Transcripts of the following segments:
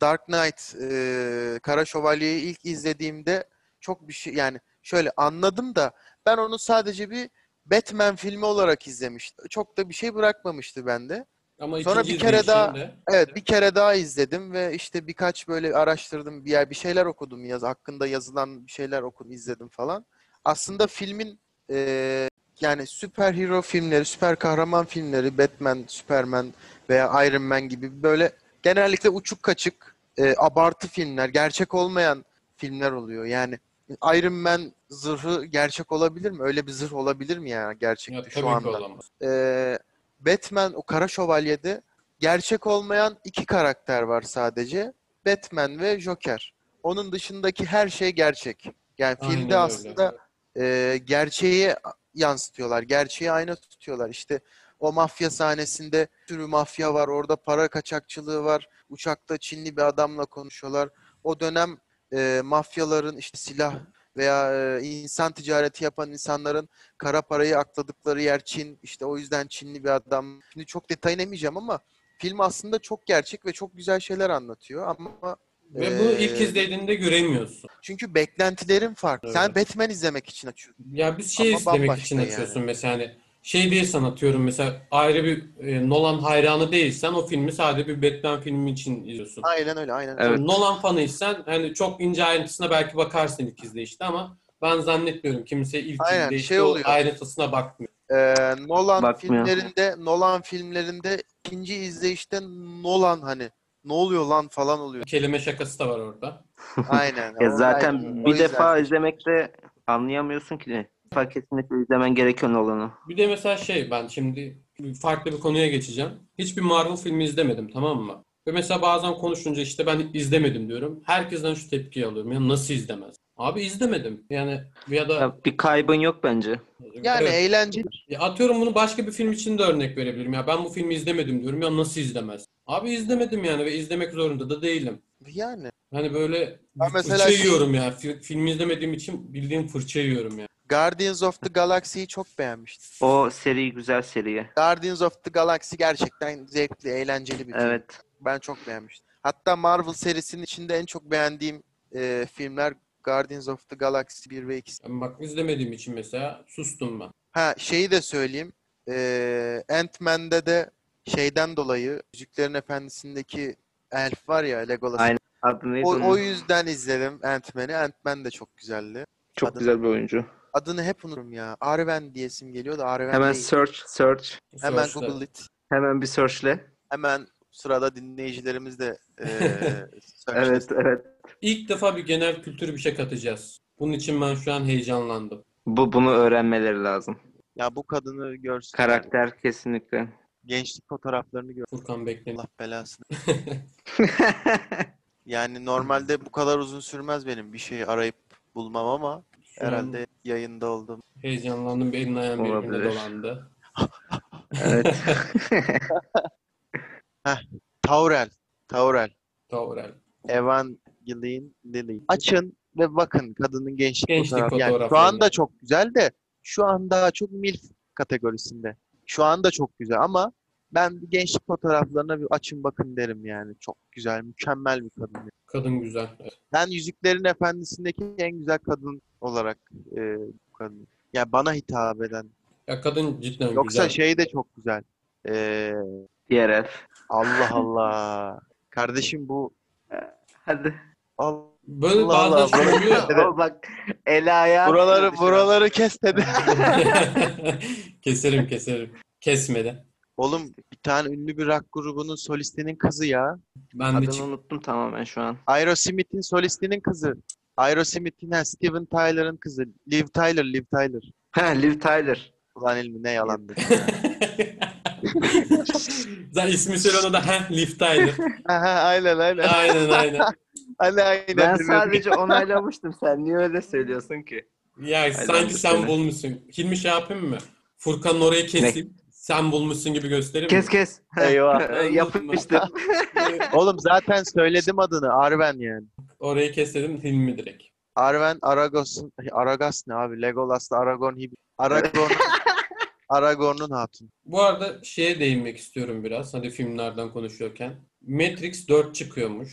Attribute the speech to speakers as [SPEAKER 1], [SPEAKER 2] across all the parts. [SPEAKER 1] Dark Knight, e, Kara Şövalye'yi ilk izlediğimde çok bir şey yani şöyle anladım da ben onu sadece bir Batman filmi olarak izlemiştim. Çok da bir şey bırakmamıştı bende.
[SPEAKER 2] Ama
[SPEAKER 1] Sonra
[SPEAKER 2] ikinci
[SPEAKER 1] bir kere
[SPEAKER 2] izleyişinde
[SPEAKER 1] daha- Evet bir kere daha izledim ve işte birkaç böyle araştırdım bir yer bir şeyler okudum yaz hakkında yazılan bir şeyler okudum izledim falan. Aslında filmin e, yani süper hero filmleri, süper kahraman filmleri, Batman, Superman veya Iron Man gibi böyle genellikle uçuk kaçık e, abartı filmler, gerçek olmayan filmler oluyor. Yani Iron Man zırhı gerçek olabilir mi? Öyle bir zırh olabilir mi yani gerçekte
[SPEAKER 2] Ya,
[SPEAKER 1] şu
[SPEAKER 2] tabii ki
[SPEAKER 1] anda?
[SPEAKER 2] olamaz.
[SPEAKER 1] e, Batman o Kara Şövalye'de gerçek olmayan iki karakter var sadece. Batman ve Joker. Onun dışındaki her şey gerçek. Yani
[SPEAKER 2] Aynen
[SPEAKER 1] filmde
[SPEAKER 2] öyle.
[SPEAKER 1] aslında e, gerçeği yansıtıyorlar. Gerçeği ayna tutuyorlar. İşte o mafya sahnesinde bir sürü mafya var. Orada para kaçakçılığı var. Uçakta Çinli bir adamla konuşuyorlar. O dönem e, mafyaların işte silah veya e, insan ticareti yapan insanların kara parayı akladıkları yer Çin. İşte o yüzden Çinli bir adam. Şimdi çok detay inemeyeceğim ama film aslında çok gerçek ve çok güzel şeyler anlatıyor ama
[SPEAKER 2] Ve bunu ilk
[SPEAKER 1] Ee,
[SPEAKER 2] izlediğinde göremiyorsun.
[SPEAKER 1] çünkü beklentilerin farklı. Sen
[SPEAKER 2] Evet.
[SPEAKER 1] Batman izlemek için açıyorsun.
[SPEAKER 2] Ya biz şey
[SPEAKER 1] Ama
[SPEAKER 2] izlemek
[SPEAKER 1] bambaşka
[SPEAKER 2] için
[SPEAKER 1] yani.
[SPEAKER 2] açıyorsun mesela hani şey değilsen atıyorum mesela ayrı bir e, Nolan hayranı değilsen o filmi sadece bir Batman filmi için izliyorsun.
[SPEAKER 1] Aynen öyle, aynen öyle.
[SPEAKER 3] Evet.
[SPEAKER 2] Nolan fanıysan hani çok ince ayrıntısına belki bakarsın ilk izleyişte ama ben zannetmiyorum kimse ilk
[SPEAKER 1] Aynen,
[SPEAKER 2] izleyişte
[SPEAKER 1] şey
[SPEAKER 2] o
[SPEAKER 1] oluyor.
[SPEAKER 2] ayrıntısına bakmıyor.
[SPEAKER 1] Ee, Nolan
[SPEAKER 3] Bakmıyor.
[SPEAKER 1] filmlerinde Nolan filmlerinde ikinci izleyişte Nolan hani ne oluyor lan falan oluyor.
[SPEAKER 2] Kelime şakası da var orada.
[SPEAKER 1] Aynen.
[SPEAKER 3] Ya
[SPEAKER 1] O-
[SPEAKER 3] E, zaten
[SPEAKER 1] aynen. O
[SPEAKER 3] bir
[SPEAKER 1] yüzden.
[SPEAKER 3] defa izlemekte anlayamıyorsun ki. Bir defa kesinlikle izlemen gereken olanı.
[SPEAKER 2] Bir de mesela şey ben şimdi farklı bir konuya geçeceğim. Hiçbir Marvel filmi izlemedim tamam mı? Ve mesela bazen konuşunca işte ben izlemedim diyorum. Herkesten şu tepkiyi alıyorum. Ya nasıl izlemez? Abi izlemedim. Yani ya da
[SPEAKER 3] Ya bir kaybın yok bence.
[SPEAKER 1] yani e-
[SPEAKER 2] Evet.
[SPEAKER 1] eğlenceli.
[SPEAKER 2] Ya atıyorum bunu başka bir film için de örnek verebilirim. Ya ben bu filmi izlemedim diyorum. Ya nasıl izlemez? Abi izlemedim yani ve izlemek zorunda da değilim.
[SPEAKER 1] Yani
[SPEAKER 2] Hani böyle
[SPEAKER 1] Ben mesela-
[SPEAKER 2] fırça yiyorum ya. Fi- Filmi izlemediğim için bildiğim fırça yiyorum ya.
[SPEAKER 1] Guardians of the Galaxy'yi çok beğenmiştim.
[SPEAKER 3] O seri güzel seriye.
[SPEAKER 1] Guardians of the Galaxy gerçekten zevkli, eğlenceli bir film.
[SPEAKER 3] Evet.
[SPEAKER 1] Ben çok beğenmiştim. Hatta Marvel serisinin içinde en çok beğendiğim e, filmler Guardians of the Galaxy 1 ve 2.
[SPEAKER 2] Yani bak izlemediğim için mesela sustum ben.
[SPEAKER 1] Ha şeyi de söyleyeyim. Ee, Ant-Man'de de şeyden dolayı Yüzüklerin Efendisi'ndeki elf var ya Legolas.
[SPEAKER 3] Aynen. Adı neydi
[SPEAKER 1] O,
[SPEAKER 3] onun?
[SPEAKER 1] o yüzden izledim Ant-Man'i. Ant-Man de çok güzeldi.
[SPEAKER 3] Çok
[SPEAKER 1] adı-
[SPEAKER 3] güzel bir oyuncu.
[SPEAKER 1] Adını hep unuturum ya. Arwen diyesim geliyor da Arwen
[SPEAKER 3] Hemen
[SPEAKER 1] değil.
[SPEAKER 3] search, search.
[SPEAKER 1] Hemen
[SPEAKER 2] Sonuçta.
[SPEAKER 1] Google it.
[SPEAKER 3] Hemen bir searchle.
[SPEAKER 1] Hemen sırada dinleyicilerimiz de e,
[SPEAKER 3] Evet,
[SPEAKER 1] söylemiştir.
[SPEAKER 3] evet.
[SPEAKER 2] İlk defa bir genel kültür bir şey katacağız. Bunun için ben şu an heyecanlandım.
[SPEAKER 3] Bu bunu öğrenmeleri lazım.
[SPEAKER 1] Ya bu kadını görsün.
[SPEAKER 3] Karakter kesinlikle.
[SPEAKER 1] Gençlik fotoğraflarını gör.
[SPEAKER 2] Furkan bekle.
[SPEAKER 1] Allah belasını. Yani normalde bu kadar uzun sürmez benim bir şeyi arayıp bulmam ama
[SPEAKER 2] Şu an
[SPEAKER 1] herhalde yayında oldum.
[SPEAKER 2] heyecanlandım. Benim ayağım birbirine
[SPEAKER 3] Olabilir.
[SPEAKER 2] dolandı.
[SPEAKER 3] evet.
[SPEAKER 1] Taurel. Taurel.
[SPEAKER 2] Doğru.
[SPEAKER 1] Evan Gillin Lily. Açın ve bakın kadının gençlik,
[SPEAKER 2] Gençlik
[SPEAKER 1] fotoğrafı. Yani şu
[SPEAKER 2] fotoğraflarına.
[SPEAKER 1] anda çok güzel de şu anda çok milf kategorisinde. Şu anda çok güzel ama ben bir gençlik fotoğraflarına bir açın bakın derim yani. Çok güzel, mükemmel bir kadın.
[SPEAKER 2] Kadın güzel. Evet.
[SPEAKER 1] Ben Yüzüklerin Efendisi'ndeki en güzel kadın olarak e, bu kadın. Yani bana hitap eden.
[SPEAKER 2] Ya kadın cidden
[SPEAKER 1] Yoksa
[SPEAKER 2] güzel.
[SPEAKER 1] şey de çok güzel. E,
[SPEAKER 3] DRF.
[SPEAKER 1] Allah Allah. Kardeşim bu
[SPEAKER 3] Hadi.
[SPEAKER 1] Allah.
[SPEAKER 2] Böyle
[SPEAKER 1] Allah
[SPEAKER 2] bazen
[SPEAKER 1] Allah,
[SPEAKER 2] şey oluyor.
[SPEAKER 1] Evet.
[SPEAKER 3] Ama bak el ayağı.
[SPEAKER 1] Buraları buraları kes dedi.
[SPEAKER 2] keserim keserim. Kesmeden.
[SPEAKER 1] Oğlum bir tane ünlü bir rock grubunun solistinin kızı ya.
[SPEAKER 2] Ben de
[SPEAKER 3] Adını
[SPEAKER 2] çık-
[SPEAKER 3] unuttum tamamen şu an.
[SPEAKER 1] Aerosmith'in solistinin kızı. Aerosmith'in ha, Steven Tyler'ın kızı. Liv Tyler, Liv Tyler.
[SPEAKER 3] Ha, Liv Tyler.
[SPEAKER 1] Ulan elmi ne yalandı.
[SPEAKER 2] Zaten ismi söyle ona da heh Liv Tyler.
[SPEAKER 1] Aha, aynen aynen.
[SPEAKER 2] Aynen aynen.
[SPEAKER 1] Aynen aynen.
[SPEAKER 3] Ben sadece onaylamıştım. Sen niye öyle söylüyorsun ki?
[SPEAKER 2] Ya sanki sen
[SPEAKER 3] söyle.
[SPEAKER 2] bulmuşsun. Hilmi şey yapayım mı? Furkan'ın orayı keseyim. Sen bulmuşsun gibi göstereyim
[SPEAKER 3] Kes
[SPEAKER 2] mi?
[SPEAKER 3] kes.
[SPEAKER 1] Eyvah.
[SPEAKER 3] Yapıştır.
[SPEAKER 1] Oğlum zaten söyledim adını. Arven yani.
[SPEAKER 2] Orayı kes dedim Hilmi direkt.
[SPEAKER 1] Arven Aragos'un Aragas ne abi? Legolas'la Aragon hibi. Aragon Aragorn'un hatun.
[SPEAKER 2] Bu arada hani şeye değinmek istiyorum biraz. Hadi filmlerden konuşuyorken. Matrix 4 çıkıyormuş.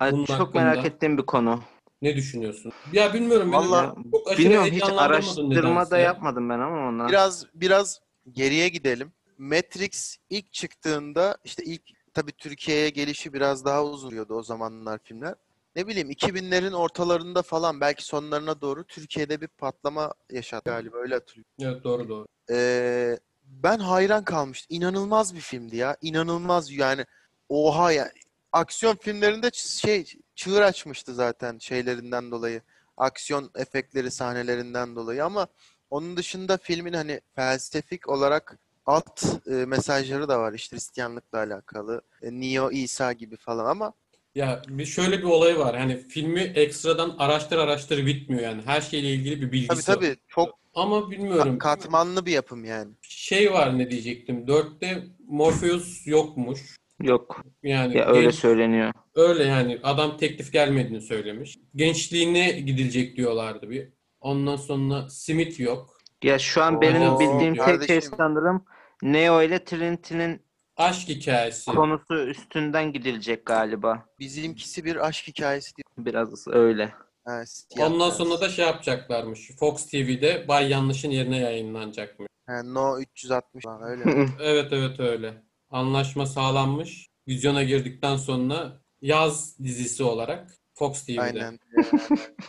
[SPEAKER 3] Ay,
[SPEAKER 2] Bunun
[SPEAKER 3] çok
[SPEAKER 2] hakkında-
[SPEAKER 3] merak ettiğim bir konu.
[SPEAKER 2] Ne düşünüyorsun? Ya bilmiyorum. beni
[SPEAKER 1] Vallahi
[SPEAKER 2] çok aşırı
[SPEAKER 3] Bilmiyorum hiç
[SPEAKER 2] heyecanlandırmadın
[SPEAKER 3] araştırma
[SPEAKER 2] nedense
[SPEAKER 3] da
[SPEAKER 2] ya.
[SPEAKER 3] yapmadım ben ama ona.
[SPEAKER 1] Biraz biraz geriye gidelim. Matrix ilk çıktığında işte ilk tabii Türkiye'ye gelişi biraz daha uzun sürüyordu o zamanlar filmler. Ne bileyim 2000'lerin ortalarında falan belki sonlarına doğru Türkiye'de bir patlama yaşadı galiba öyle hatırlıyorum.
[SPEAKER 2] Evet doğru doğru.
[SPEAKER 1] Ee, ben hayran kalmıştım. İnanılmaz bir filmdi ya. İnanılmaz yani. Oha ya. Aksiyon filmlerinde ç- şey çığır açmıştı zaten şeylerinden dolayı. Aksiyon efektleri sahnelerinden dolayı ama onun dışında filmin hani felsefik olarak alt e, mesajları da var. İşte Hristiyanlıkla alakalı. E, Neo İsa gibi falan ama
[SPEAKER 2] Ya bir şöyle bir olay var. Hani filmi ekstradan araştır araştır bitmiyor yani. Her şeyle ilgili bir bilgisi
[SPEAKER 1] tabii
[SPEAKER 2] var.
[SPEAKER 1] tabii çok
[SPEAKER 2] Ama bilmiyorum.
[SPEAKER 1] katmanlı bir yapım yani.
[SPEAKER 2] Şey var ne diyecektim. Dörtte Morpheus yokmuş.
[SPEAKER 3] Yok.
[SPEAKER 2] Yani
[SPEAKER 3] Ya öyle
[SPEAKER 2] genç-
[SPEAKER 3] söyleniyor.
[SPEAKER 2] öyle yani adam teklif gelmediğini söylemiş. Gençliğine gidilecek diyorlardı bir. Ondan sonra Smith yok.
[SPEAKER 3] Ya şu an
[SPEAKER 1] Oo,
[SPEAKER 3] benim bildiğim tek şey
[SPEAKER 1] kardeşim.
[SPEAKER 3] sanırım Neo ile Trinity'nin
[SPEAKER 2] Aşk hikayesi.
[SPEAKER 3] konusu üstünden gidilecek galiba.
[SPEAKER 1] Bizimkisi bir aşk hikayesi diyor.
[SPEAKER 3] Biraz öyle.
[SPEAKER 1] Ha, siyah
[SPEAKER 2] Ondan
[SPEAKER 1] prens.
[SPEAKER 2] sonra da şey yapacaklarmış. Fox TV'de Bay Yanlış'ın yerine yayınlanacakmış.
[SPEAKER 1] Ha, No 360 falan öyle. mi?
[SPEAKER 2] Evet evet öyle. Anlaşma sağlanmış. Vizyona girdikten sonra yaz dizisi olarak Fox TV'de.
[SPEAKER 1] Aynen. Ee,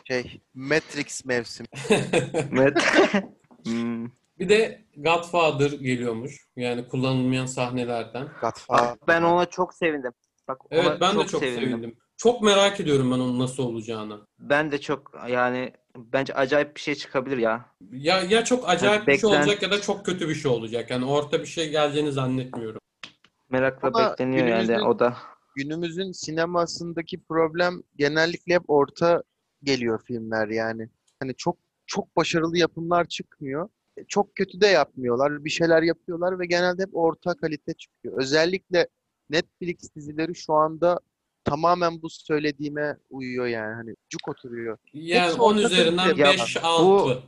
[SPEAKER 1] şey Matrix mevsimi.
[SPEAKER 3] Evet. Hmm.
[SPEAKER 2] Bir de Godfather geliyormuş. Yani kullanılmayan sahnelerden.
[SPEAKER 1] Godfather.
[SPEAKER 3] Bak ben ona çok sevindim. Bak ona
[SPEAKER 2] Evet ben de çok sevindim. Çok merak ediyorum ben onun nasıl olacağını.
[SPEAKER 3] Ben de çok yani bence acayip bir şey çıkabilir ya.
[SPEAKER 2] Ya ya çok acayip
[SPEAKER 3] Ya
[SPEAKER 2] bir şey
[SPEAKER 3] beklen-
[SPEAKER 2] olacak ya da çok kötü bir şey olacak. Yani orta bir şey geleceğini zannetmiyorum.
[SPEAKER 3] Merakla
[SPEAKER 1] Ama
[SPEAKER 3] bekleniyor yani
[SPEAKER 1] günümüzde-
[SPEAKER 3] o da.
[SPEAKER 1] Günümüzün sinemasındaki problem genellikle hep orta geliyor filmler yani. Hani çok çok başarılı yapımlar çıkmıyor. E, Çok kötü de yapmıyorlar. Bir şeyler yapıyorlar ve genelde hep orta kalite çıkıyor. Özellikle Netflix dizileri şu anda tamamen bu söylediğime uyuyor yani. Hani cuk oturuyor.
[SPEAKER 2] Yani
[SPEAKER 1] Hepsi
[SPEAKER 2] 10
[SPEAKER 1] orta
[SPEAKER 2] üzerinden
[SPEAKER 1] kalite.
[SPEAKER 2] 5
[SPEAKER 3] Bu
[SPEAKER 2] 6.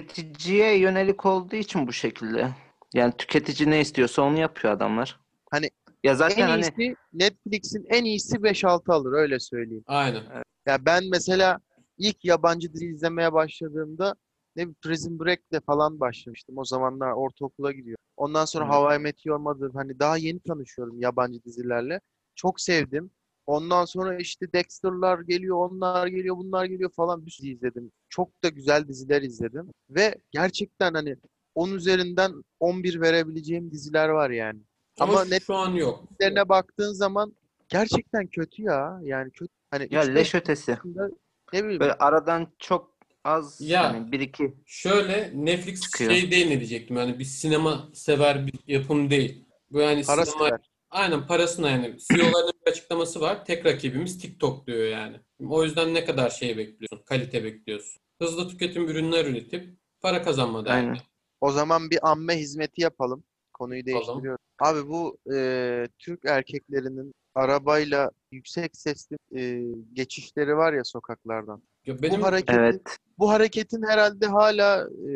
[SPEAKER 3] tüketiciye yönelik olduğu için bu şekilde. Yani tüketici ne istiyorsa onu yapıyor adamlar.
[SPEAKER 1] Hani
[SPEAKER 3] ya zaten
[SPEAKER 1] En
[SPEAKER 3] hani
[SPEAKER 1] iyisi Netflix'in en iyisi 5-6 alır öyle söyleyeyim.
[SPEAKER 2] Aynen.
[SPEAKER 1] Ya ben mesela ilk yabancı dizi izlemeye başladığımda ne bileyim Prison Break'le falan başlamıştım. O zamanlar ortaokula gidiyor. Ondan sonra
[SPEAKER 3] Hı.
[SPEAKER 1] How I Met Your Mother hani daha yeni tanışıyorum yabancı dizilerle. Çok sevdim. Ondan sonra işte Dexter'lar geliyor, onlar geliyor, bunlar geliyor falan bir sürü izledim. Çok da güzel diziler izledim. Ve gerçekten hani 10 üzerinden 11 verebileceğim diziler var yani.
[SPEAKER 2] Ama,
[SPEAKER 1] Ama
[SPEAKER 2] şu,
[SPEAKER 1] net-
[SPEAKER 2] şu an yok.
[SPEAKER 1] Dizilerine baktığın zaman gerçekten kötü ya. Yani kötü. Hani
[SPEAKER 3] ya
[SPEAKER 1] üç beş
[SPEAKER 3] leş ötesi.
[SPEAKER 1] arasında ne bileyim
[SPEAKER 3] Böyle aradan çok az
[SPEAKER 2] Ya.
[SPEAKER 3] yani bir iki
[SPEAKER 2] Şöyle Netflix
[SPEAKER 3] Çıkıyor.
[SPEAKER 2] şey değil ne diyecektim. Yani bir sinema sever bir yapım değil. Bu yani
[SPEAKER 1] para
[SPEAKER 2] sinema
[SPEAKER 1] sever.
[SPEAKER 2] aynen parasına yani. CEO'ların bir açıklaması var. Tek rakibimiz TikTok diyor yani. O yüzden ne kadar şey bekliyorsun? Kalite bekliyorsun. Hızlı tüketim ürünler üretip para kazanma derdi.
[SPEAKER 3] Aynen.
[SPEAKER 1] O zaman bir amme hizmeti yapalım. Konuyu
[SPEAKER 2] Yapalım.
[SPEAKER 1] değiştiriyorum. Abi bu e, Türk erkeklerinin arabayla yüksek sesli e, geçişleri var ya sokaklardan.
[SPEAKER 2] Ya
[SPEAKER 1] Bu
[SPEAKER 2] benim
[SPEAKER 1] hareketin,
[SPEAKER 3] Evet.
[SPEAKER 1] bu hareketin herhalde hala e,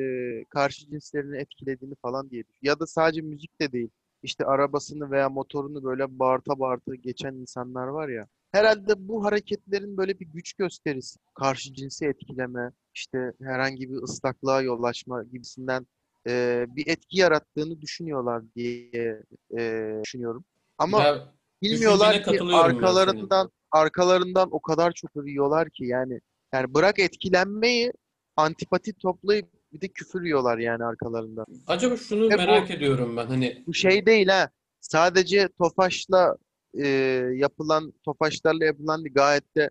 [SPEAKER 1] karşı cinslerini etkilediğini falan diye düşünüyorum. Ya da sadece müzik de değil. İşte arabasını veya motorunu böyle bağırta bağırta geçen insanlar var ya. Herhalde bu hareketlerin böyle bir güç gösterisi. Karşı cinsi etkileme, işte herhangi bir ıslaklığa yol açma gibisinden e, bir etki yarattığını düşünüyorlar diye e, düşünüyorum. Ama
[SPEAKER 2] Ya
[SPEAKER 1] Bilmiyorlar ki
[SPEAKER 2] katılıyorum ben
[SPEAKER 1] arkalarından arkalarından o kadar çok yiyorlar ki yani yani bırak etkilenmeyi antipati toplayıp bir de küfür yiyorlar yani arkalarından.
[SPEAKER 2] acaba şunu
[SPEAKER 1] E bu-
[SPEAKER 2] merak ediyorum ben. Hani
[SPEAKER 1] Bu şey değil ha. Sadece Tofaş'la e, yapılan Tofaşlarla yapılan değil, gayet de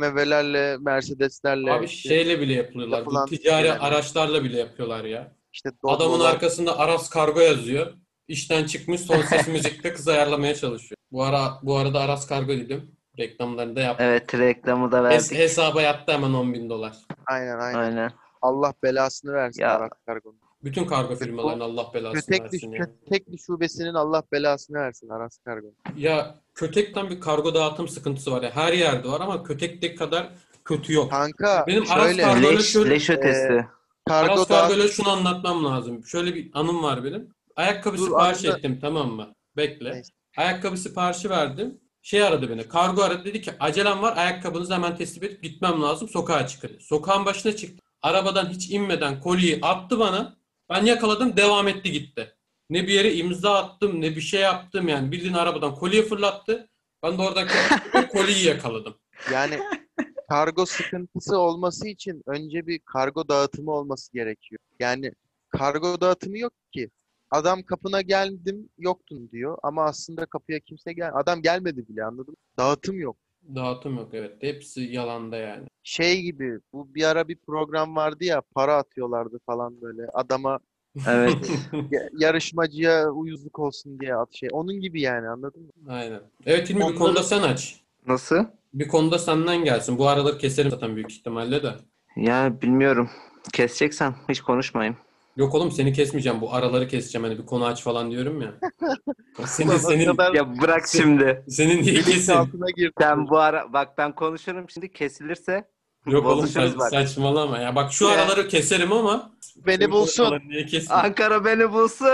[SPEAKER 1] BMW'lerle, Mercedes'lerle
[SPEAKER 2] abi şey,
[SPEAKER 1] işte,
[SPEAKER 2] şeyle bile yapıyorlar. Bu
[SPEAKER 1] yapılan
[SPEAKER 2] ticari
[SPEAKER 1] şeyler.
[SPEAKER 2] araçlar bile yapıyorlar ya.
[SPEAKER 1] işte
[SPEAKER 2] Adamın
[SPEAKER 1] Doblo'lar.
[SPEAKER 2] arkasında Aras Kargo yazıyor. İşten çıkmış son ses müzikte kız ayarlamaya çalışıyor. Bu ara bu arada Aras Kargo dedim. Reklamlarını da yaptı.
[SPEAKER 3] Evet reklamı da
[SPEAKER 2] Hes-
[SPEAKER 3] verdik.
[SPEAKER 2] hesaba yattı hemen 10 bin dolar.
[SPEAKER 1] Aynen
[SPEAKER 2] e,
[SPEAKER 1] aynen.
[SPEAKER 3] Aynen.
[SPEAKER 1] Allah belasını versin
[SPEAKER 3] Ya.
[SPEAKER 1] Aras Kargo'nun.
[SPEAKER 2] Bütün kargo firmalarına Allah belasını
[SPEAKER 1] Kötekli,
[SPEAKER 2] versin ya.
[SPEAKER 1] kötekli şubesinin Allah belasını versin Aras Kargo.
[SPEAKER 2] Ya kötekten bir kargo dağıtım sıkıntısı var ya. Her yerde var ama kötekte kadar kötü yok.
[SPEAKER 1] Kanka
[SPEAKER 2] Benim Aras
[SPEAKER 1] şöyle
[SPEAKER 2] Kargo- Kargoyla
[SPEAKER 3] Leş,
[SPEAKER 2] şöyle- Ee.
[SPEAKER 3] leş ötesi.
[SPEAKER 1] kargo
[SPEAKER 2] Aras
[SPEAKER 1] dağıt-
[SPEAKER 2] Kargo'yla şunu anlatmam lazım. Şöyle bir anım var benim. Ayakkabı
[SPEAKER 1] Dur,
[SPEAKER 2] sipariş
[SPEAKER 1] anında-
[SPEAKER 2] ettim tamam mı? Bekle.
[SPEAKER 1] Neyse.
[SPEAKER 2] Ayakkabı siparişi verdim. şey aradı beni. Kargo aradı dedi ki acelem var ayakkabınızı hemen teslim edip gitmem lazım sokağa çıkın. dedi. Sokağın başına çıktı. Arabadan hiç inmeden koliyi attı bana. Ben yakaladım devam etti gitti. Ne bir yere imza attım ne bir şey yaptım yani bildiğin arabadan koliyi fırlattı. Ben de oradaki koliyi yakaladım.
[SPEAKER 1] Yani kargo sıkıntısı olması için önce bir kargo dağıtımı olması gerekiyor. Yani kargo dağıtımı yok ki. Adam kapına geldim yoktun diyor ama aslında kapıya kimse gel adam gelmedi bile anladın mı? Dağıtım yok.
[SPEAKER 2] Dağıtım yok evet. Hepsi yalanda yani.
[SPEAKER 1] Şey gibi bu bir ara bir program vardı ya para atıyorlardı falan böyle adama
[SPEAKER 3] Evet.
[SPEAKER 1] ya- yarışmacıya uyuzluk olsun diye at şey. Onun gibi yani anladın mı?
[SPEAKER 2] Aynen. Evet Hilmi bir
[SPEAKER 1] Onları-
[SPEAKER 2] konuda sen aç.
[SPEAKER 3] Nasıl?
[SPEAKER 2] Bir konuda senden gelsin. Bu araları keserim zaten büyük ihtimalle de.
[SPEAKER 3] Ya bilmiyorum. Keseceksen hiç konuşmayayım.
[SPEAKER 2] Yok oğlum seni kesmeyeceğim. Bu araları keseceğim. Hani bir konu aç falan diyorum ya. Senin,
[SPEAKER 1] Ulan o
[SPEAKER 2] senin,
[SPEAKER 1] kadar
[SPEAKER 3] Ya bırak şimdi.
[SPEAKER 2] senin niye
[SPEAKER 1] bilinç
[SPEAKER 2] kesin?
[SPEAKER 1] altına girdim.
[SPEAKER 3] Sen bu ara bak ben konuşurum şimdi kesilirse
[SPEAKER 2] Yok oğlum
[SPEAKER 3] bozuşuruz
[SPEAKER 2] sa-
[SPEAKER 3] bak.
[SPEAKER 2] saçmalama ya. Bak şu
[SPEAKER 3] Ya.
[SPEAKER 2] araları keserim ama
[SPEAKER 1] Beni
[SPEAKER 2] senin
[SPEAKER 1] bulsun.
[SPEAKER 2] araları Niye kesin?
[SPEAKER 3] Ankara beni bulsun.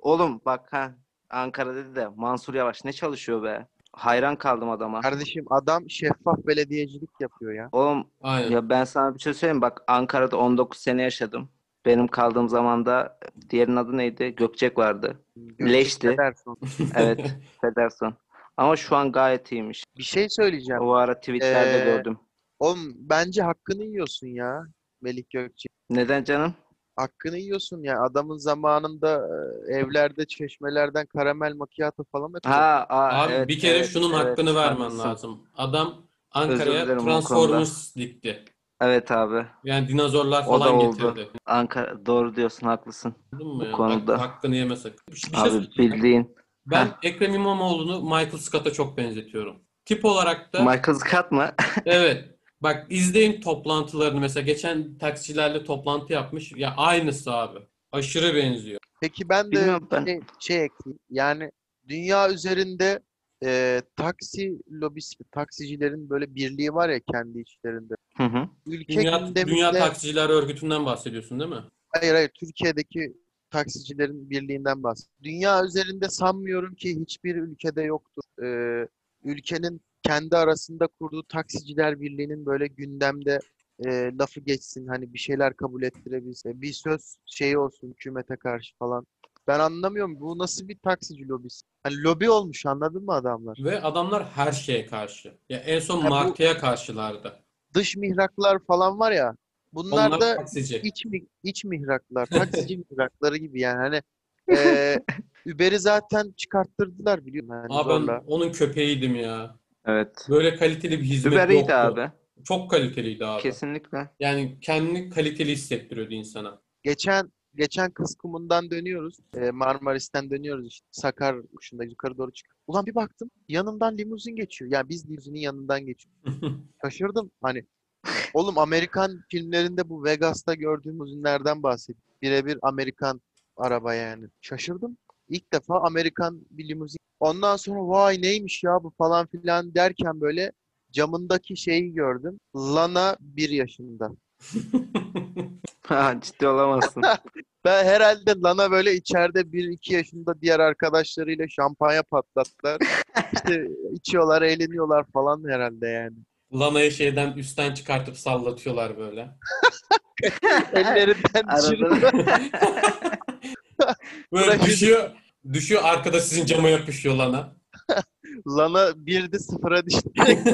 [SPEAKER 3] Oğlum bak ha Ankara dedi de Mansur Yavaş ne çalışıyor be? Hayran kaldım adama.
[SPEAKER 1] Kardeşim adam şeffaf belediyecilik yapıyor ya.
[SPEAKER 3] Oğlum
[SPEAKER 2] Aynen.
[SPEAKER 3] ya ben sana bir şey söyleyeyim mi? bak Ankara'da 19 sene yaşadım. Benim kaldığım zamanda diğerinin adı neydi? Gökçek vardı. Leşti.
[SPEAKER 1] Ederson.
[SPEAKER 3] Evet, Federson. Ama şu an gayet iyiymiş.
[SPEAKER 1] Bir şey söyleyeceğim.
[SPEAKER 3] O ara tweetlerde
[SPEAKER 1] Ee,
[SPEAKER 3] gördüm.
[SPEAKER 1] Oğlum bence hakkını yiyorsun ya Melih Gökçe.
[SPEAKER 3] Neden canım?
[SPEAKER 1] Hakkını yiyorsun ya. Adamın zamanında e, evlerde çeşmelerden karamel macchiato falan atıyor.
[SPEAKER 3] Ha, aa,
[SPEAKER 2] Abi
[SPEAKER 3] evet,
[SPEAKER 2] bir kere
[SPEAKER 3] evet,
[SPEAKER 2] şunun
[SPEAKER 3] evet,
[SPEAKER 2] hakkını vermen
[SPEAKER 3] haklısın.
[SPEAKER 2] lazım. Adam
[SPEAKER 3] Özür
[SPEAKER 2] Ankara'ya
[SPEAKER 3] dilerim o
[SPEAKER 2] Transformers dikti.
[SPEAKER 3] Evet abi.
[SPEAKER 2] Yani dinozorlar
[SPEAKER 3] O da
[SPEAKER 2] falan
[SPEAKER 3] oldu.
[SPEAKER 2] getirdi.
[SPEAKER 3] Ankara doğru diyorsun haklısın.
[SPEAKER 2] Anladın mı
[SPEAKER 3] Bu
[SPEAKER 2] ya?
[SPEAKER 3] konuda.
[SPEAKER 2] Hak- hakkını yemesek. Bir şey
[SPEAKER 3] Abi
[SPEAKER 2] söyleyeyim.
[SPEAKER 3] bildiğin.
[SPEAKER 2] Ben
[SPEAKER 3] Heh.
[SPEAKER 2] Ekrem İmamoğlu'nu Michael Scott'a çok benzetiyorum. Tip olarak da
[SPEAKER 3] Michael Scott mı?
[SPEAKER 2] evet. Bak izleyin toplantılarını mesela geçen taksicilerle toplantı yapmış. Ya aynısı abi. Aşırı benziyor.
[SPEAKER 1] Peki ben de
[SPEAKER 3] Bilmiyorum ben.
[SPEAKER 1] şey, şey ekleyeyim. Yani dünya üzerinde e, taksi lobisi, taksicilerin böyle birliği var ya kendi içlerinde.
[SPEAKER 3] Hı hı.
[SPEAKER 1] Ülke
[SPEAKER 2] Dünya,
[SPEAKER 1] gündeminde
[SPEAKER 2] Dünya Taksiciler Örgütü'nden bahsediyorsun değil mi?
[SPEAKER 1] hayır hayır Türkiye'deki taksicilerin birliğinden bahsediyorum. Dünya üzerinde sanmıyorum ki hiçbir ülkede yoktur. Ee, ülkenin kendi arasında kurduğu taksiciler birliğinin böyle gündemde e, lafı geçsin hani bir şeyler kabul ettirebilse bir söz şeyi olsun hükümete karşı falan. Ben anlamıyorum bu nasıl bir taksici lobisi? Hani lobi olmuş anladın mı adamlar?
[SPEAKER 2] Ve adamlar her şeye karşı. Ya en son
[SPEAKER 1] Ya bu-
[SPEAKER 2] markaya karşılardı.
[SPEAKER 1] Dış mihraklar falan var ya bunlar
[SPEAKER 2] Onlar
[SPEAKER 1] da
[SPEAKER 2] taksici.
[SPEAKER 1] iç, mi- iç mihraklar, taksici mihrakları gibi yani hani eee Uber'i zaten çıkarttırdılar biliyorum yani
[SPEAKER 2] Aa ben
[SPEAKER 1] zorla.
[SPEAKER 2] onun köpeğiydim ya.
[SPEAKER 3] Evet.
[SPEAKER 2] Böyle kaliteli bir hizmet
[SPEAKER 3] Uber iyiydi
[SPEAKER 2] yoktu.
[SPEAKER 3] abi.
[SPEAKER 2] Çok kaliteliydi abi.
[SPEAKER 3] Kesinlikle.
[SPEAKER 2] Yani kendini kaliteli hissettiriyordu insana.
[SPEAKER 1] Geçen geçen kız kumundan dönüyoruz. eee, Marmaris'ten dönüyoruz işte. Sakar uçunda yukarı doğru çık. Ulan bir baktım yanımdan limuzin geçiyor. Yani biz limuzinin yanından geçiyoruz. Şaşırdım hani. Oğlum Amerikan filmlerinde bu Vegas'ta gördüğümüz ünlerden bahsediyor. Birebir Amerikan araba yani. Şaşırdım. İlk defa Amerikan bir limuzin. Ondan sonra vay neymiş ya bu falan filan derken böyle camındaki şeyi gördüm. Lana bir yaşında.
[SPEAKER 3] Ha, Ciddi olamazsın.
[SPEAKER 1] Ben herhalde Lana böyle içeride bir iki yaşında diğer arkadaşlarıyla şampanya patlattılar. İşte içiyorlar, eğleniyorlar falan herhalde yani.
[SPEAKER 2] Lana'yı şeyden üstten çıkartıp sallatıyorlar böyle.
[SPEAKER 1] Ellerinden düşürüp
[SPEAKER 3] Arada
[SPEAKER 2] Böyle
[SPEAKER 1] Bırakın.
[SPEAKER 2] düşüyor, düşüyor arkada sizin cama yapışıyor Lana.
[SPEAKER 1] Lana birdi sıfıra düştü.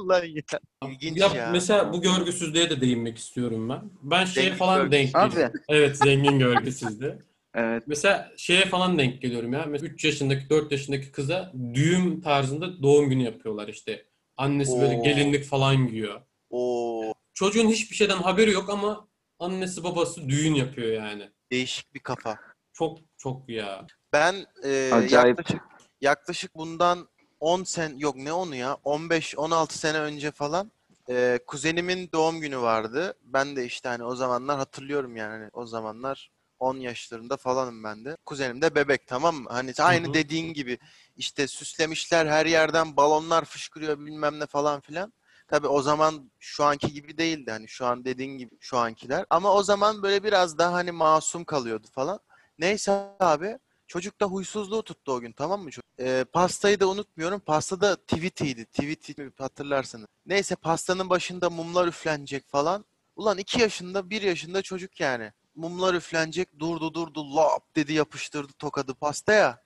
[SPEAKER 1] Lan ya. İlginç
[SPEAKER 2] Ya mesela bu görgüsüzlüğe de değinmek istiyorum ben. Ben şeye
[SPEAKER 1] Zengin
[SPEAKER 2] falan denk
[SPEAKER 1] görgüsüz.
[SPEAKER 2] geliyorum.
[SPEAKER 3] abi.
[SPEAKER 2] Evet zengin görgüsüzlüğü.
[SPEAKER 3] Evet.
[SPEAKER 2] Mesela şeye falan denk geliyorum ya. Mesela 3 yaşındaki 4 yaşındaki kıza düğüm tarzında doğum günü yapıyorlar işte. Annesi böyle
[SPEAKER 1] Oo.
[SPEAKER 2] gelinlik falan giyiyor.
[SPEAKER 1] Oo,
[SPEAKER 2] Çocuğun hiçbir şeyden haberi yok ama annesi babası düğün yapıyor yani.
[SPEAKER 1] değişik bir kafa.
[SPEAKER 2] Çok çok ya.
[SPEAKER 1] Ben e,
[SPEAKER 3] Acayip.
[SPEAKER 1] yaklaşık yaklaşık bundan 10 sen yok ne onu ya 15-16 sene önce falan e, kuzenimin doğum günü vardı. Ben de işte hani o zamanlar hatırlıyorum yani hani o zamanlar 10 yaşlarında falanım ben de. Kuzenim de bebek tamam mı? Hani aynı
[SPEAKER 2] hı.
[SPEAKER 1] dediğin gibi işte süslemişler her yerden balonlar fışkırıyor bilmem ne falan filan. Tabii o zaman şu anki gibi değildi hani şu an dediğin gibi şu ankiler. Ama o zaman böyle biraz daha hani masum kalıyordu falan. Neyse abi Çocuk da huysuzluğu tuttu o gün tamam mı? çocuk? Ee, pastayı da unutmuyorum. Pasta da Tweety'ydi. Tweety hatırlarsınız. Neyse pastanın başında mumlar üflenecek falan. Ulan 2 yaşında 1 yaşında çocuk yani. Mumlar üflenecek durdu durdu lap dedi yapıştırdı tokadı pastaya.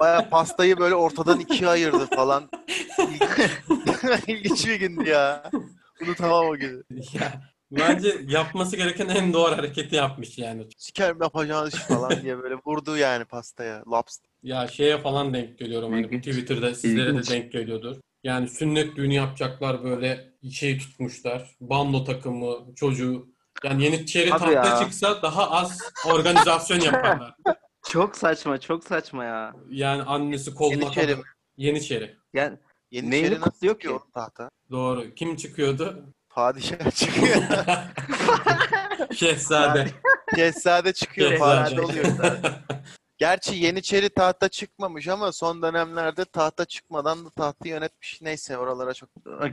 [SPEAKER 1] Baya pastayı böyle ortadan ikiye ayırdı falan. İlginç bir gündü ya. Unutamam o günü.
[SPEAKER 2] Ya, bence yapması gereken en doğru hareketi yapmış yani.
[SPEAKER 1] Sikerim yapacağınız iş falan diye böyle vurdu yani pastaya. Laps.
[SPEAKER 2] Ya şeye falan denk geliyorum hani bu
[SPEAKER 3] İlginç.
[SPEAKER 2] Twitter'da sizlere
[SPEAKER 3] İlginç.
[SPEAKER 2] de denk geliyordur. Yani sünnet düğünü yapacaklar böyle şey tutmuşlar. Bando takımı, çocuğu. Yani Yeniçeri
[SPEAKER 3] Abi
[SPEAKER 2] tahta
[SPEAKER 3] ya.
[SPEAKER 2] çıksa daha az organizasyon yaparlar.
[SPEAKER 3] Çok saçma, çok saçma ya.
[SPEAKER 2] Yani annesi koluna
[SPEAKER 1] Yeniçeri
[SPEAKER 2] takıp- Yeniçeri.
[SPEAKER 3] Yani
[SPEAKER 1] Yeni
[SPEAKER 3] Neyini
[SPEAKER 1] Neyini nasıl
[SPEAKER 3] kutluyor
[SPEAKER 1] ki?
[SPEAKER 3] ki?
[SPEAKER 1] oğlum tahta?
[SPEAKER 2] Doğru. Kim çıkıyordu?
[SPEAKER 1] Padişah çıkıyor.
[SPEAKER 2] Şehzade.
[SPEAKER 1] Şehzade çıkıyor.
[SPEAKER 2] Şehzade.
[SPEAKER 1] Padişah oluyor. Gerçi Yeniçeri tahta çıkmamış ama son dönemlerde tahta çıkmadan da tahtı yönetmiş. Neyse oralara çok.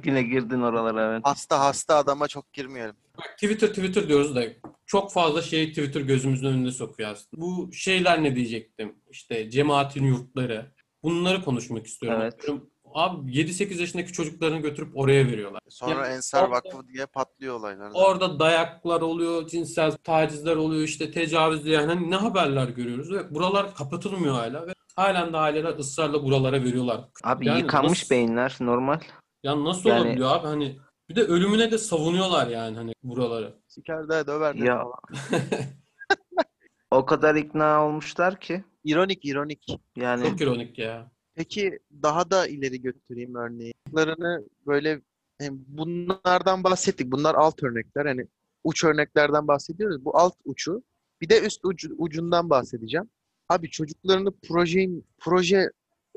[SPEAKER 3] yine girdin oralara. evet.
[SPEAKER 1] Hasta hasta adama çok girmeyelim.
[SPEAKER 2] Bak, Twitter Twitter diyoruz da çok fazla şeyi Twitter gözümüzün önünde sokuyor aslında. Bu şeyler ne diyecektim? İşte cemaatin yurtları. Bunları konuşmak istiyorum.
[SPEAKER 3] Evet.
[SPEAKER 2] Diyorum, Abi 7-8 yaşındaki çocuklarını götürüp oraya veriyorlar.
[SPEAKER 1] Sonra
[SPEAKER 2] Ya,
[SPEAKER 1] Ensar
[SPEAKER 2] orada-
[SPEAKER 1] Vakfı diye patlıyor olaylar. da.
[SPEAKER 2] Orada dayaklar oluyor, cinsel tacizler oluyor, işte tecavüz yani hani ne haberler görüyoruz ve buralar kapatılmıyor hala ve halen de aileler ısrarla buralara veriyorlar.
[SPEAKER 3] Abi
[SPEAKER 2] Yani
[SPEAKER 3] yıkanmış
[SPEAKER 2] nasıl-
[SPEAKER 3] beyinler normal.
[SPEAKER 2] Ya nasıl
[SPEAKER 3] Yani-
[SPEAKER 2] olabiliyor abi hani bir de ölümüne de savunuyorlar yani hani buraları.
[SPEAKER 1] Siker de döver de
[SPEAKER 3] Ya.
[SPEAKER 1] falan.
[SPEAKER 3] O kadar ikna olmuşlar ki.
[SPEAKER 1] İronik ironik.
[SPEAKER 3] Yani
[SPEAKER 2] Çok ironik ya.
[SPEAKER 1] Peki daha da ileri götüreyim örneği. Bunlarını böyle yani bunlardan bahsettik. Bunlar alt örnekler. Hani uç örneklerden bahsediyoruz. Bu alt uçu. Bir de üst ucu- ucundan bahsedeceğim. Abi çocuklarını projenin proje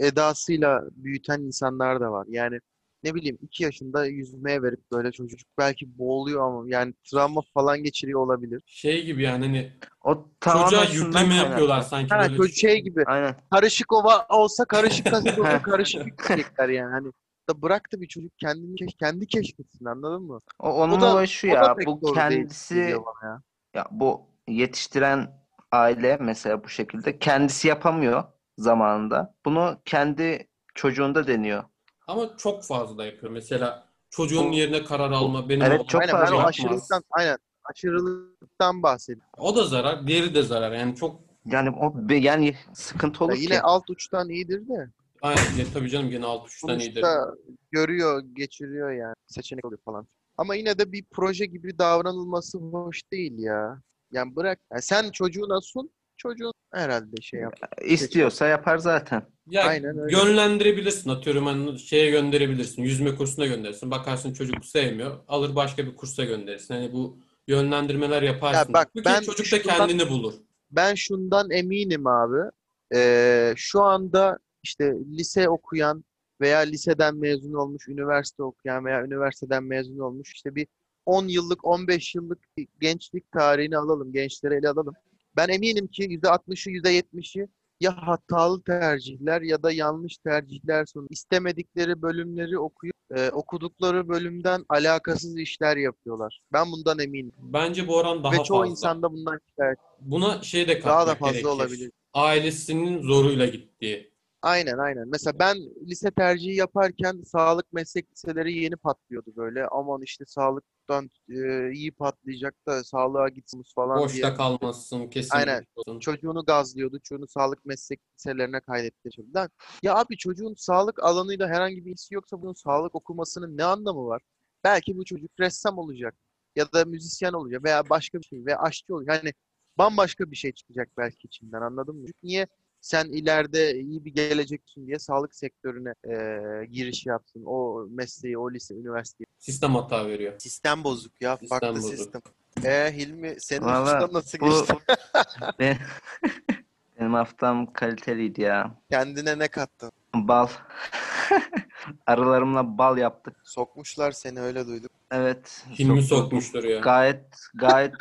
[SPEAKER 1] edasıyla büyüten insanlar da var. Yani ne bileyim iki yaşında yüzmeye verip böyle çocuk belki boğuluyor ama yani travma falan geçiriyor olabilir.
[SPEAKER 2] Şey gibi yani hani
[SPEAKER 3] o tamamen
[SPEAKER 2] çocuğa
[SPEAKER 3] şundan
[SPEAKER 2] yükleme
[SPEAKER 3] kaynaklı.
[SPEAKER 2] yapıyorlar sanki
[SPEAKER 1] Ha,
[SPEAKER 2] böyle.
[SPEAKER 1] çocuk şey gibi
[SPEAKER 3] Aynen.
[SPEAKER 1] karışık ova olsa karışık kasık olsa karışık yüksekler yani. Hani da bıraktı bir çocuk kendini keş- kendi keşfetsin anladın mı?
[SPEAKER 3] O, onun
[SPEAKER 1] O da-
[SPEAKER 3] olayı şu
[SPEAKER 1] O
[SPEAKER 3] ya.
[SPEAKER 1] da pek
[SPEAKER 3] Bu
[SPEAKER 1] doğru değil
[SPEAKER 3] kendisi
[SPEAKER 1] geliyor bana ya.
[SPEAKER 3] Ya bu yetiştiren aile mesela bu şekilde kendisi yapamıyor zamanında. Bunu kendi çocuğunda deniyor.
[SPEAKER 2] Ama çok fazla yapıyor. Mesela çocuğun
[SPEAKER 3] Bu-
[SPEAKER 2] yerine karar alma, benim
[SPEAKER 3] Evet,
[SPEAKER 2] oğlum
[SPEAKER 3] çok
[SPEAKER 1] Aynen ben
[SPEAKER 3] fazla
[SPEAKER 1] o
[SPEAKER 2] yapmaz.
[SPEAKER 1] aşırılıktan aynen aşırılıktan bahsediyorum.
[SPEAKER 2] O da zarar, diğeri de zarar. Yani çok
[SPEAKER 3] Yani o be- yani sıkıntı
[SPEAKER 1] Ya
[SPEAKER 3] olur
[SPEAKER 1] yine
[SPEAKER 3] ki.
[SPEAKER 1] alt uçtan iyidir de
[SPEAKER 2] aynen ya tabii canım gene alt uçtan iyidir.
[SPEAKER 1] sonuçta görüyor, geçiriyor yani seçenek oluyor falan. Ama yine de bir proje gibi davranılması hoş değil ya. Yani bırak. yani sen çocuğuna sun, çocuğun herhalde şey yap.
[SPEAKER 3] İstiyorsa yapar zaten.
[SPEAKER 2] Ya
[SPEAKER 1] Aynen öyle.
[SPEAKER 2] yönlendirebilirsin. Atıyorum hani şeye gönderebilirsin. Yüzme kursuna gönderirsin. Bakarsın çocuk sevmiyor. Alır başka bir kursa gönderirsin. Hani bu yönlendirmeler yaparsın.
[SPEAKER 1] bak,
[SPEAKER 2] Çünkü
[SPEAKER 1] ben
[SPEAKER 2] çocuk da
[SPEAKER 1] şundan-
[SPEAKER 2] kendini bulur.
[SPEAKER 1] ben şundan eminim abi. Ee, şu anda işte lise okuyan veya liseden mezun olmuş, üniversite okuyan veya üniversiteden mezun olmuş işte bir 10 yıllık, 15 yıllık bir gençlik tarihini alalım, gençleri ele alalım. Ben eminim ki %60'ı, %70'i ya hatalı tercihler ya da yanlış tercihler sonucu istemedikleri bölümleri okuyup e, okudukları bölümden alakasız işler yapıyorlar. Ben bundan eminim.
[SPEAKER 2] Bence bu oran daha
[SPEAKER 1] Ve çoğu
[SPEAKER 2] fazla.
[SPEAKER 1] insanda bundan şikayet.
[SPEAKER 2] Buna şey de
[SPEAKER 1] Daha da
[SPEAKER 2] katmak
[SPEAKER 1] fazla
[SPEAKER 2] gerekir.
[SPEAKER 1] olabilir.
[SPEAKER 2] Ailesinin zoruyla gittiği.
[SPEAKER 1] Aynen aynen. Mesela ben lise tercihi yaparken sağlık meslek liseleri yeni patlıyordu böyle. Aman işte sağlıktan e, iyi patlayacak da sağlığa gitsiniz falan diye.
[SPEAKER 2] Boşta kalmazsın kesin.
[SPEAKER 1] Aynen.
[SPEAKER 2] olsun.
[SPEAKER 1] Çocuğunu gazlıyordu. Çocuğunu sağlık meslek liselerine kaydettirdi. Lan ya abi çocuğun sağlık alanıyla herhangi bir ilgisi yoksa bunun sağlık okumasının ne anlamı var? Belki bu çocuk ressam olacak ya da müzisyen olacak veya başka bir şey veya aşçı olacak. Hani bambaşka bir şey çıkacak belki içinden anladın mı? Çünkü Niye sen ileride iyi bir gelecek için diye sağlık sektörüne eee, giriş yapsın. O mesleği, o lise, üniversiteyi.
[SPEAKER 2] Sistem hata veriyor.
[SPEAKER 1] Sistem bozuk ya.
[SPEAKER 2] Sistem
[SPEAKER 1] farklı
[SPEAKER 2] bozuk.
[SPEAKER 1] sistem. E Hilmi senin
[SPEAKER 3] Valla
[SPEAKER 1] uçtan nasıl
[SPEAKER 3] bu-
[SPEAKER 1] geçti?
[SPEAKER 3] Ve- Benim haftam kaliteliydi ya.
[SPEAKER 1] Kendine ne kattın?
[SPEAKER 3] Bal. Arılarımla bal yaptık.
[SPEAKER 1] Sokmuşlar seni öyle duydum.
[SPEAKER 3] Evet.
[SPEAKER 2] Hilmi
[SPEAKER 3] çok-
[SPEAKER 2] sokmuştur ya.
[SPEAKER 3] Gayet gayet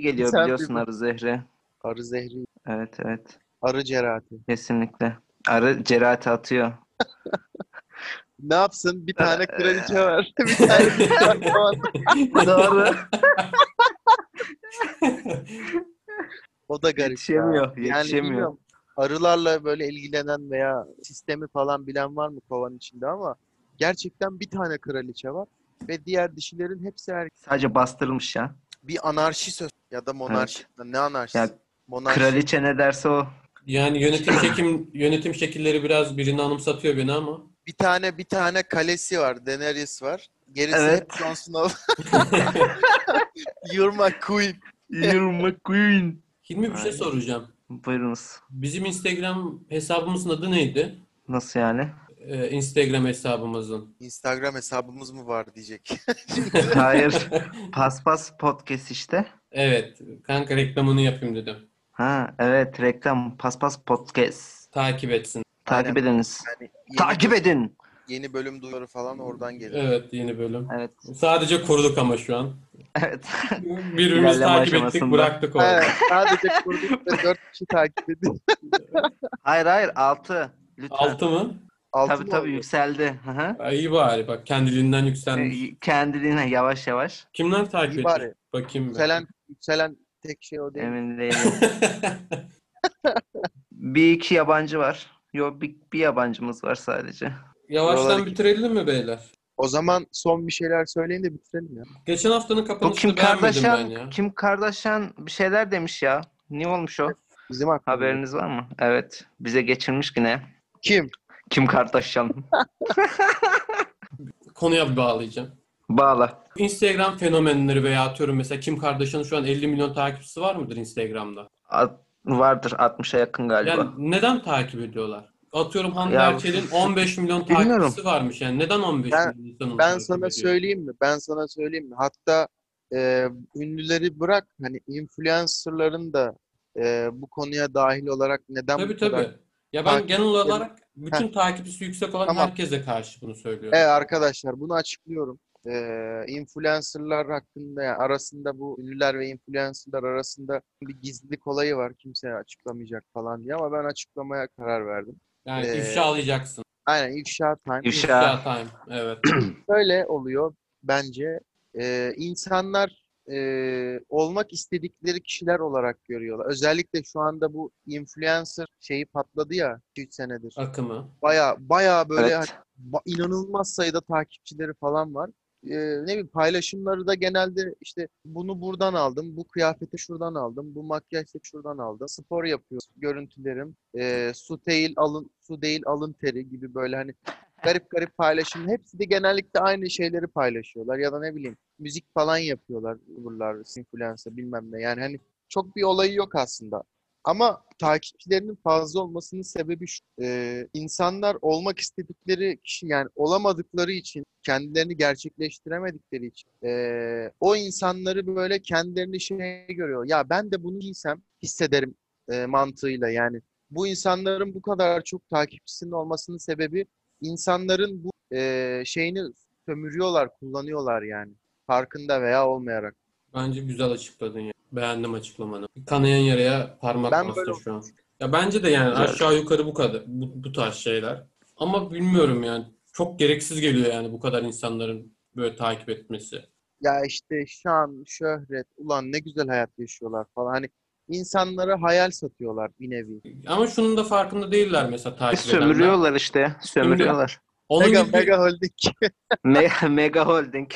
[SPEAKER 3] geliyor
[SPEAKER 1] Sen
[SPEAKER 3] biliyorsun
[SPEAKER 1] duydun.
[SPEAKER 3] arı zehri.
[SPEAKER 1] Arı zehri,
[SPEAKER 3] Evet evet.
[SPEAKER 1] arı cerahati.
[SPEAKER 3] Kesinlikle. Arı cerahati atıyor.
[SPEAKER 1] Ne yapsın? Bir tane kraliçe var. Bir tane kraliçe var.
[SPEAKER 3] Doğru.
[SPEAKER 1] O da garip ya.
[SPEAKER 3] Yetişemiyor,
[SPEAKER 1] Yani
[SPEAKER 3] yetişemiyor.
[SPEAKER 1] bilmiyorum. arılarla böyle ilgilenen veya sistemi falan bilen var mı kovanın içinde ama gerçekten bir tane kraliçe var ve diğer dişilerin hepsi erkek.
[SPEAKER 3] Sadece bastırılmış ya.
[SPEAKER 1] Bir anarşi söz ya da monarşi. Ne anarşisi?
[SPEAKER 3] Ya,
[SPEAKER 1] monarşi.
[SPEAKER 3] Kraliçe ne derse o.
[SPEAKER 2] Yani yönetim şekim yönetim şekilleri biraz birini anımsatıyor beni ama.
[SPEAKER 1] Bir tane bir tane kalesi var. Daenerys var. Gerisi
[SPEAKER 3] Evet.
[SPEAKER 1] hep Jon Snow. You're my queen.
[SPEAKER 3] You're my queen.
[SPEAKER 2] Hilmi bir şey
[SPEAKER 3] Aynen.
[SPEAKER 2] soracağım.
[SPEAKER 3] Buyurunuz.
[SPEAKER 2] Bizim Instagram hesabımızın adı neydi?
[SPEAKER 3] Nasıl yani?
[SPEAKER 2] Ee, Instagram hesabımızın.
[SPEAKER 1] Instagram hesabımız mı var diyecek.
[SPEAKER 3] Hayır. Paspas podcast işte.
[SPEAKER 2] Evet. Kanka reklamını yapayım dedim.
[SPEAKER 3] Ha evet reklam. Paspas podcast.
[SPEAKER 2] Takip etsin.
[SPEAKER 3] Takip
[SPEAKER 1] Aynen.
[SPEAKER 3] ediniz.
[SPEAKER 1] Yani yeni,
[SPEAKER 3] Takip edin.
[SPEAKER 1] yeni bölüm duyuru falan oradan geliyor.
[SPEAKER 2] Evet yeni bölüm.
[SPEAKER 3] Evet.
[SPEAKER 2] Sadece koruduk ama şu an.
[SPEAKER 3] Evet.
[SPEAKER 2] Birbirimizi
[SPEAKER 3] İlerleme
[SPEAKER 2] takip ettik
[SPEAKER 3] aşamasında.
[SPEAKER 2] bıraktık orada.
[SPEAKER 1] Evet, sadece kurduk ve dört kişi takip ediyor.
[SPEAKER 3] Hayır hayır 6. Lütfen.
[SPEAKER 2] Altı mı?
[SPEAKER 1] Altı
[SPEAKER 3] Tabii
[SPEAKER 1] mı
[SPEAKER 3] tabii
[SPEAKER 1] oluyor?
[SPEAKER 3] yükseldi. Hı hı.
[SPEAKER 2] Ay, iyi bari bak kendiliğinden yükselmiş.
[SPEAKER 3] E, Kendiliğine yavaş yavaş.
[SPEAKER 2] Kimler takip
[SPEAKER 1] İyi
[SPEAKER 2] ediyor?
[SPEAKER 3] şey.
[SPEAKER 1] bari.
[SPEAKER 2] Bakayım ben.
[SPEAKER 1] Yükselen, yükselen tek şey o değil.
[SPEAKER 3] Emin değilim. bir iki yabancı var. Yok bir, bir yabancımız var sadece.
[SPEAKER 2] Yavaştan
[SPEAKER 1] Buraları-
[SPEAKER 2] bitirelim mi beyler?
[SPEAKER 1] O zaman son bir şeyler söyleyin de bitirelim ya.
[SPEAKER 2] Geçen haftanın
[SPEAKER 3] Bu
[SPEAKER 2] kapanışını
[SPEAKER 3] Kim
[SPEAKER 2] beğenmedim ben
[SPEAKER 3] Kardashian,
[SPEAKER 2] ya.
[SPEAKER 3] Kim Kardashian bir şeyler demiş ya. Ne olmuş o?
[SPEAKER 1] Bizim hakkımız.
[SPEAKER 3] Haberiniz var mı? Evet. Bize geçirmiş yine.
[SPEAKER 1] Kim?
[SPEAKER 3] Kim Kardashian.
[SPEAKER 2] Konuya bağlayacağım.
[SPEAKER 3] Bağla.
[SPEAKER 2] Instagram fenomenleri veya atıyorum mesela Kim Kardashian'ın şu an 50 milyon takipçisi var mıdır Instagram'da?
[SPEAKER 3] At- vardır 60'a yakın galiba.
[SPEAKER 2] Yani neden takip ediyorlar? Atıyorum Hande
[SPEAKER 3] Ya-
[SPEAKER 2] Erçel'in 15 milyon
[SPEAKER 3] Bilmiyorum.
[SPEAKER 2] takipçisi varmış yani. Neden 15
[SPEAKER 1] Ben-
[SPEAKER 2] milyon insanın
[SPEAKER 1] Ben
[SPEAKER 2] takip
[SPEAKER 1] sana
[SPEAKER 2] ediyor?
[SPEAKER 1] söyleyeyim mi? Ben sana söyleyeyim mi? Hatta e, ünlüleri bırak hani influencerların da e, bu konuya dahil olarak neden
[SPEAKER 2] Tabii
[SPEAKER 1] bu kadar
[SPEAKER 2] tabii. Ya ben
[SPEAKER 1] takip
[SPEAKER 2] genel olarak bütün takipçisi yüksek olan
[SPEAKER 1] Tamam.
[SPEAKER 2] herkese karşı bunu söylüyorum.
[SPEAKER 1] Evet E, arkadaşlar bunu açıklıyorum. Ee, influencerlar hakkında yani arasında bu ünlüler ve influencerlar arasında bir gizlilik olayı var. Kimse açıklamayacak falan diye ama ben açıklamaya karar verdim.
[SPEAKER 2] Yani
[SPEAKER 1] Ee,
[SPEAKER 2] ifşa alacaksın.
[SPEAKER 1] Aynen ifşa time.
[SPEAKER 3] İfşa.
[SPEAKER 2] İfşa time. Evet.
[SPEAKER 1] Şöyle oluyor bence. Ee, insanlar e, olmak istedikleri kişiler olarak görüyorlar. Özellikle şu anda bu influencer şeyi patladı ya 3 senedir.
[SPEAKER 2] Akımı.
[SPEAKER 1] Baya baya böyle
[SPEAKER 3] Evet.
[SPEAKER 1] hani ba- inanılmaz sayıda takipçileri falan var. Ee, ne bileyim paylaşımları da genelde işte bunu buradan aldım, bu kıyafeti şuradan aldım, bu makyajı şuradan aldım. Spor yapıyorum, görüntülerim, ee, su değil alın su değil alın teri gibi böyle hani garip garip paylaşım. Hepsi de genellikle aynı şeyleri paylaşıyorlar ya da ne bileyim müzik falan yapıyorlar buralar, influencer bilmem ne. Yani hani çok bir olayı yok aslında. Ama takipçilerinin fazla olmasının sebebi şu. Ee, insanlar olmak istedikleri kişi yani olamadıkları için kendilerini gerçekleştiremedikleri için ee, o insanları böyle kendilerini şey görüyor. Ya ben de bunu giysem hissederim ee, mantığıyla yani. Bu insanların bu kadar çok takipçisinin olmasının sebebi insanların bu ee, şeyini sömürüyorlar, kullanıyorlar yani. Farkında veya olmayarak.
[SPEAKER 2] Bence güzel açıkladın ya. Beğendim açıklamanı. Kanayan yaraya parmak
[SPEAKER 1] Ben
[SPEAKER 2] bastı
[SPEAKER 1] böyle
[SPEAKER 2] şu an. Ya bence de yani
[SPEAKER 3] Güzel.
[SPEAKER 2] aşağı yukarı bu kadar bu, bu tarz şeyler. Ama bilmiyorum yani çok gereksiz geliyor yani bu kadar insanların böyle takip etmesi.
[SPEAKER 1] ya işte şan, şöhret, ulan ne güzel hayat yaşıyorlar falan. Hani insanlara hayal satıyorlar bir nevi.
[SPEAKER 2] Ama şunun da farkında değiller mesela takip edenler.
[SPEAKER 3] Sömürüyorlar işte. Sömürüyorlar.
[SPEAKER 2] Onun
[SPEAKER 1] Mega,
[SPEAKER 2] gibi
[SPEAKER 1] mega holding.
[SPEAKER 3] Me- Mega Holding.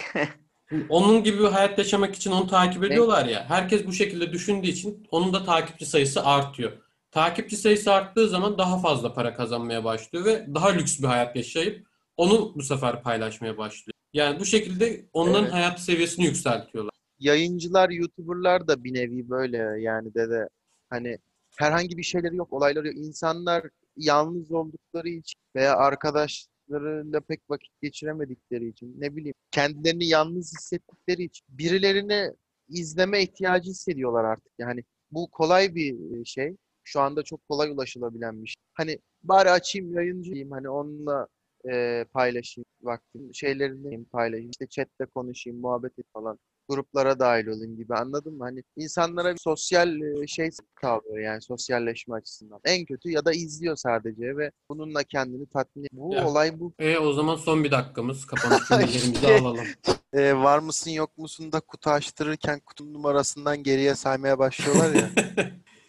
[SPEAKER 2] onun gibi bir hayat yaşamak için onu takip ediyorlar ya. Herkes bu şekilde düşündüğü için onun da takipçi sayısı artıyor. Takipçi sayısı arttığı zaman daha fazla para kazanmaya başlıyor ve daha lüks bir hayat yaşayıp onu bu sefer paylaşmaya başlıyor. Yani bu şekilde onların
[SPEAKER 1] Evet.
[SPEAKER 2] hayat seviyesini yükseltiyorlar.
[SPEAKER 1] Yayıncılar, YouTuber'lar da bir nevi böyle yani dede. Hani herhangi bir şeyleri yok, olayları yok. İnsanlar yalnız oldukları için veya arkadaşlarıyla pek vakit geçiremedikleri için ne bileyim kendilerini yalnız hissettikleri için birilerini izleme ihtiyacı hissediyorlar artık. Yani bu kolay bir şey. Şu anda çok kolay ulaşılabilen bir şey. Hani bari açayım yayıncıyım hani onunla e, paylaşayım vaktim. Şeylerini paylaşayım. İşte chatte konuşayım, muhabbet et falan. Gruplara dahil olayım gibi anladın mı? Hani insanlara bir sosyal e, şey sağlıyor yani sosyalleşme açısından. En kötü ya da izliyor sadece ve bununla kendini tatmin ediyor. Bu
[SPEAKER 2] Ya.
[SPEAKER 1] olay bu.
[SPEAKER 2] E o zaman son bir dakikamız. Kapanış cümlelerimizi alalım.
[SPEAKER 1] E, var mısın yok musun da kutu açtırırken kutunun numarasından geriye saymaya başlıyorlar ya.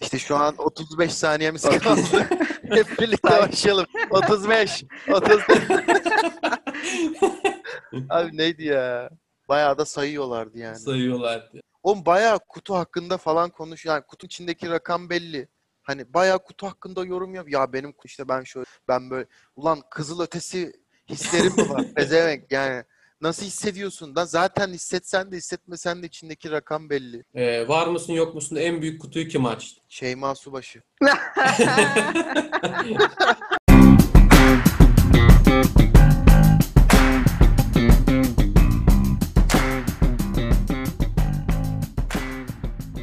[SPEAKER 1] İşte şu an 35 saniyemiz kaldı. Hep birlikte başlayalım. 35. 30. Abi neydi ya? Bayağı da sayıyorlardı yani.
[SPEAKER 2] sayıyorlardı.
[SPEAKER 1] Oğlum bayağı kutu hakkında falan konuş. Yani kutunun içindeki rakam belli. Hani bayağı kutu hakkında yorum yap. Ya benim ku- işte ben şöyle ben böyle ulan kızıl ötesi hislerim mi var? Pezevenk yani. Nasıl hissediyorsun? Lan zaten hissetsen de hissetmesen de içindeki rakam belli.
[SPEAKER 2] Ee, var mısın yok musun en büyük kutuyu kim açtı?
[SPEAKER 1] Şeyma Subaşı.